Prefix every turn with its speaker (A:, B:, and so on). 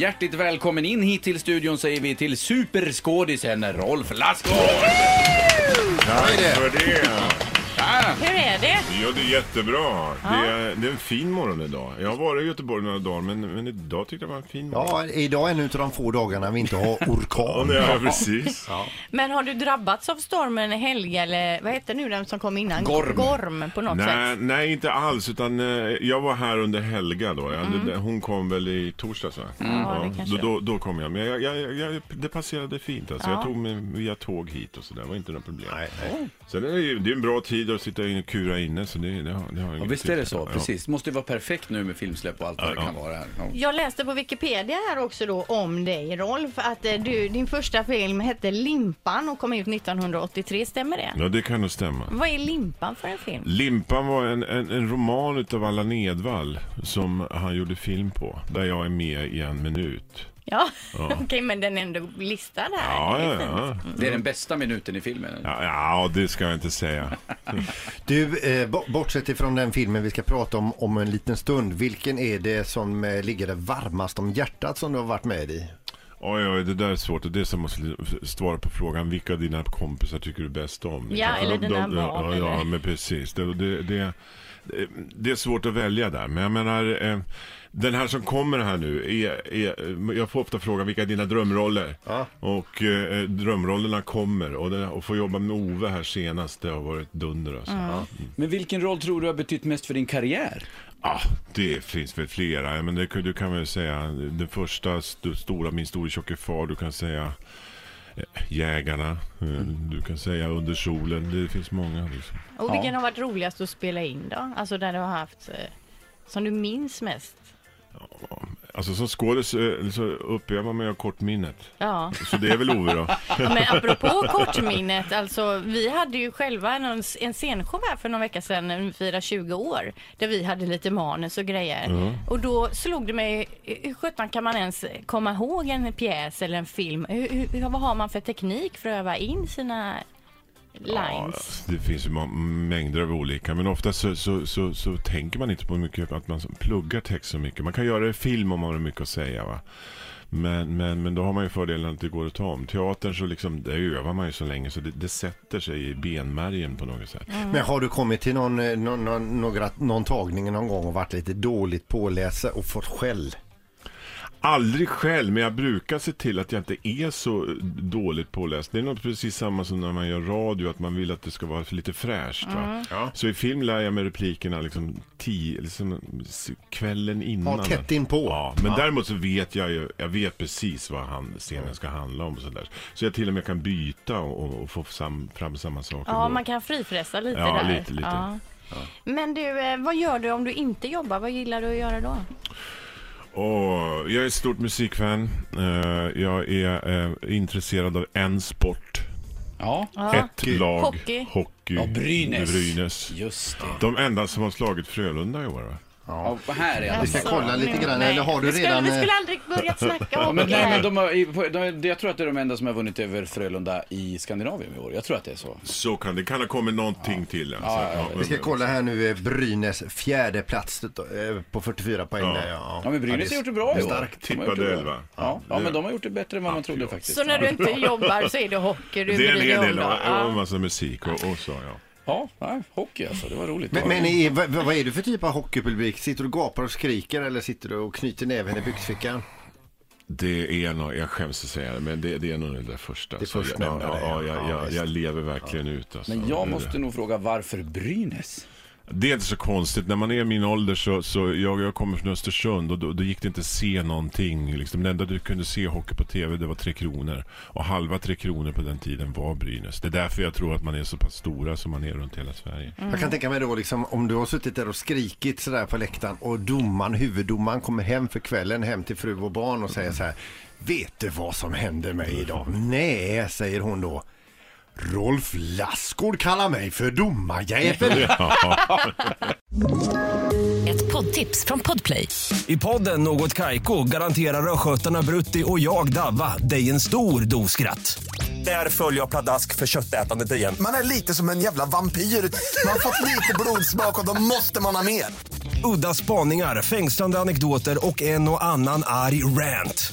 A: Hjärtligt välkommen in hit till studion säger vi till superskådisen Rolf Lassgård!
B: Tack för det.
C: Hur är det?
B: Ja, det är jättebra. Det, är, det är en fin morgon idag. Jag har varit i Göteborg några dagar, men, men idag tyckte jag det var en fin morgon.
D: Ja, idag är en utav de få dagarna vi inte har
B: Ja,
D: orkan.
B: det är jag precis.
C: Men har du drabbats av stormen Helga eller vad heter nu den som kom innan?
A: Gorm.
C: Gorm på något
B: Nej,
C: sätt.
B: nej, inte alls. Utan, eh, jag var här under Helga då. Jag hade, Hon kom väl i torsdags va?
C: Ja, det kanske
B: då, då, då kom jag. Men jag, jag, jag, jag, det passerade fint. Alltså. Jag tog mig via tåg hit och så där. Det var inte några problem.
D: Nej, nej.
B: Sen är det, ju- det är en bra tid att sitta in och kura inne. Så det, det, har, det har
A: Ja, visst är det så, precis. Måste ju vara perfekt nu med filmsläpp och allt vad det kan vara här. Ja.
C: Jag läste på Wikipedia här också då om dig Rolf att eh, du, din första film hette Limpan och kom ut 1983, stämmer det?
B: Ja, det kan nog stämma.
C: Vad är Limpan för en film?
B: Limpan var en, en, en roman utav Allan Edwall som han gjorde film på. Där jag är med i en minut.
C: Ja, okej men den är ändå listad här.
B: Ja,
C: Det är
B: ja,
C: fint.
B: ja.
A: Det är den bästa minuten i filmen.
B: Ja, ja det ska jag inte säga.
D: Du, eh, bo- bortsett ifrån den filmen vi ska prata om om en liten stund, vilken är det som eh, ligger det varmast om hjärtat som du har varit med i?
B: Oj, oj, det där är svårt. Och det är som att sl- svara på frågan vilka av dina kompisar tycker du bäst om?
C: Ja, eller dina barn,
B: Ja, ja
C: eller?
B: men precis. Det, det, det, det är svårt att välja där. Men jag menar, eh, den här som kommer här nu, är, är, jag får ofta frågan vilka är dina drömroller? Och eh, drömrollerna kommer. Och, det, och få jobba med Ove här senast, det har varit dunder alltså.
A: Men vilken roll tror du har betytt mest för din karriär?
B: Ja, det finns väl flera. Men det, kan- du kan väl säga den första st- stora, min store tjocke far. Du kan säga eh, Jägarna. eh, Du kan säga Under solen. Det finns många. Liksom.
C: Och vilken har varit roligast att spela in då? Alltså där du har haft, eh, som du minns mest?
B: Alltså som skådis eh, så uppövar man ju kortminnet.
C: Ja.
B: Så det är väl Ove då.
C: Men apropå kortminnet, alltså vi hade ju själva en, en scenshow här för någon vecka sedan när vi firade 20 år, där vi hade lite manus och grejer.
B: Mm.
C: Och då slog det mig, hur sjutton kan man ens komma ihåg en pjäs eller en film? Hur, hur, vad har man för teknik för att öva in sina lines?
B: Ja, det finns ju ma- mängder av olika. Men ofta så, så, så, så tänker man inte på hur mycket, att man pluggar text så mycket. Man kan göra det i film om man har mycket att säga. Va? Men, men, men då har man ju fördelen att det går att ta om. Teatern så liksom, där övar man ju så länge så det, det sätter sig i benmärgen på något sätt.
D: Men har du kommit till någon, eh, någon, någon, några, någon tagning någon gång och varit lite dåligt påläst och fått skäll?
B: Aldrig själv, men jag brukar se till att jag inte är så dåligt påläst. Det är något precis samma som när man gör radio, att man vill att det ska vara lite fräscht. Va? Så i film lär jag mig replikerna liksom, tio, liksom s- kvällen innan.
D: Ja, tätt inpå.
B: Ja, men däremot så vet jag ju, jag vet precis vad han, scenen ska handla om. Och så, där. så jag till och med kan byta och, och- och få sam, fram samma saker.
C: Ja,
B: då.
C: man kan frifräsa lite
B: Ja,
C: där.
B: lite, lite.
C: Men du, eh, vad gör du om du inte jobbar? Vad gillar du att göra då?
B: Och jag är ett stort musikfan. Eh, jag är eh, intresserad av en sport.
A: Ja.
B: Ett lag.
C: Hockey.
B: Hockey.
A: Ja, Brynäs.
B: Brynäs.
A: Just det.
B: De enda som har slagit Frölunda i år va?
A: Ja, här är
D: Vi
A: han.
C: Alltså.
D: ska kolla lite
C: nu-
D: grann,
C: nej.
D: eller har du
C: vi skulle,
D: redan,
C: Vi
D: eh,
C: skulle aldrig börjat snacka
A: Ja,
C: om
A: men,
C: det
A: nej,
C: här.
A: men de har, i- på- de, jag tror att det är de enda som har vunnit över Frölunda i Skandinavien i år. Jag tror att det är så.
B: Så kan det kan ha kommit någonting till. Alltså.
A: Ja, ja, ja.
D: Vi ska kolla här nu, eh, Brynäs fjärde plats eh, på 44 poäng.
B: Ja.
D: Där, ja.
A: Ja, men
D: Ja,
A: Brynäs
D: det-
A: har gjort det bra i år.
D: Starkt
A: De har gjort det
B: tippade
A: bra.
B: elva.
A: Ja. ja,
B: Ja.
A: men de har gjort det bättre än vad man trodde faktiskt.
C: Så när du inte jobbar så är det hockey du
B: Det är en
C: bryr dig
B: hel
C: om
B: del
C: då?
B: och, och
C: Ja.
B: massa musik och, och så ja.
A: Ja, nej, hockey alltså. Det var roligt.
D: Men, men är, vad, vad är du för typ av hockeypublik? Sitter du och gapar och skriker eller sitter du och knyter näven i byxfickan?
B: Det är nog, jag skäms att säga det, men det, det är nog det där första.
D: Det
B: Så jag-
D: förstnämnda,
B: ja, ja,
D: det,
B: jag,
D: ja,
B: jag,
D: visst.
B: jag lever verkligen ut alltså.
A: Men jag
B: Det-
A: måste nog fråga varför Brynäs?
B: Det är inte så konstigt. När man är i min ålder så, så jag, jag kommer från Östersund och då, då gick det inte att se någonting. Liksom. Det enda du kunde se hockey på TV det var Tre Kronor. Och halva Tre Kronor på den tiden var Brynäs. Det är därför jag tror att man är så pass stora som man är runt hela Sverige.
D: Jag kan tänka mig då liksom, om du har suttit där och skrikit sådär på läktaren och domaren, huvuddomaren kommer hem för kvällen, hem till fru och barn och säger så här. Vet du vad som hände mig idag? Nej, säger hon då. Rolf Lassgård kallar mig för domarjävel.
E: Ett poddtips från Podplay.
F: I podden Något Kaiko garanterar östgötarna Brutti och jag, Davva, dig en stor dos skratt. Där följer jag pladask för köttätandet igen.
G: Man är lite som en jävla vampyr. Man har fått lite blodsmak och då måste man ha mer.
F: Udda spaningar, fängslande anekdoter och en och annan arg rant.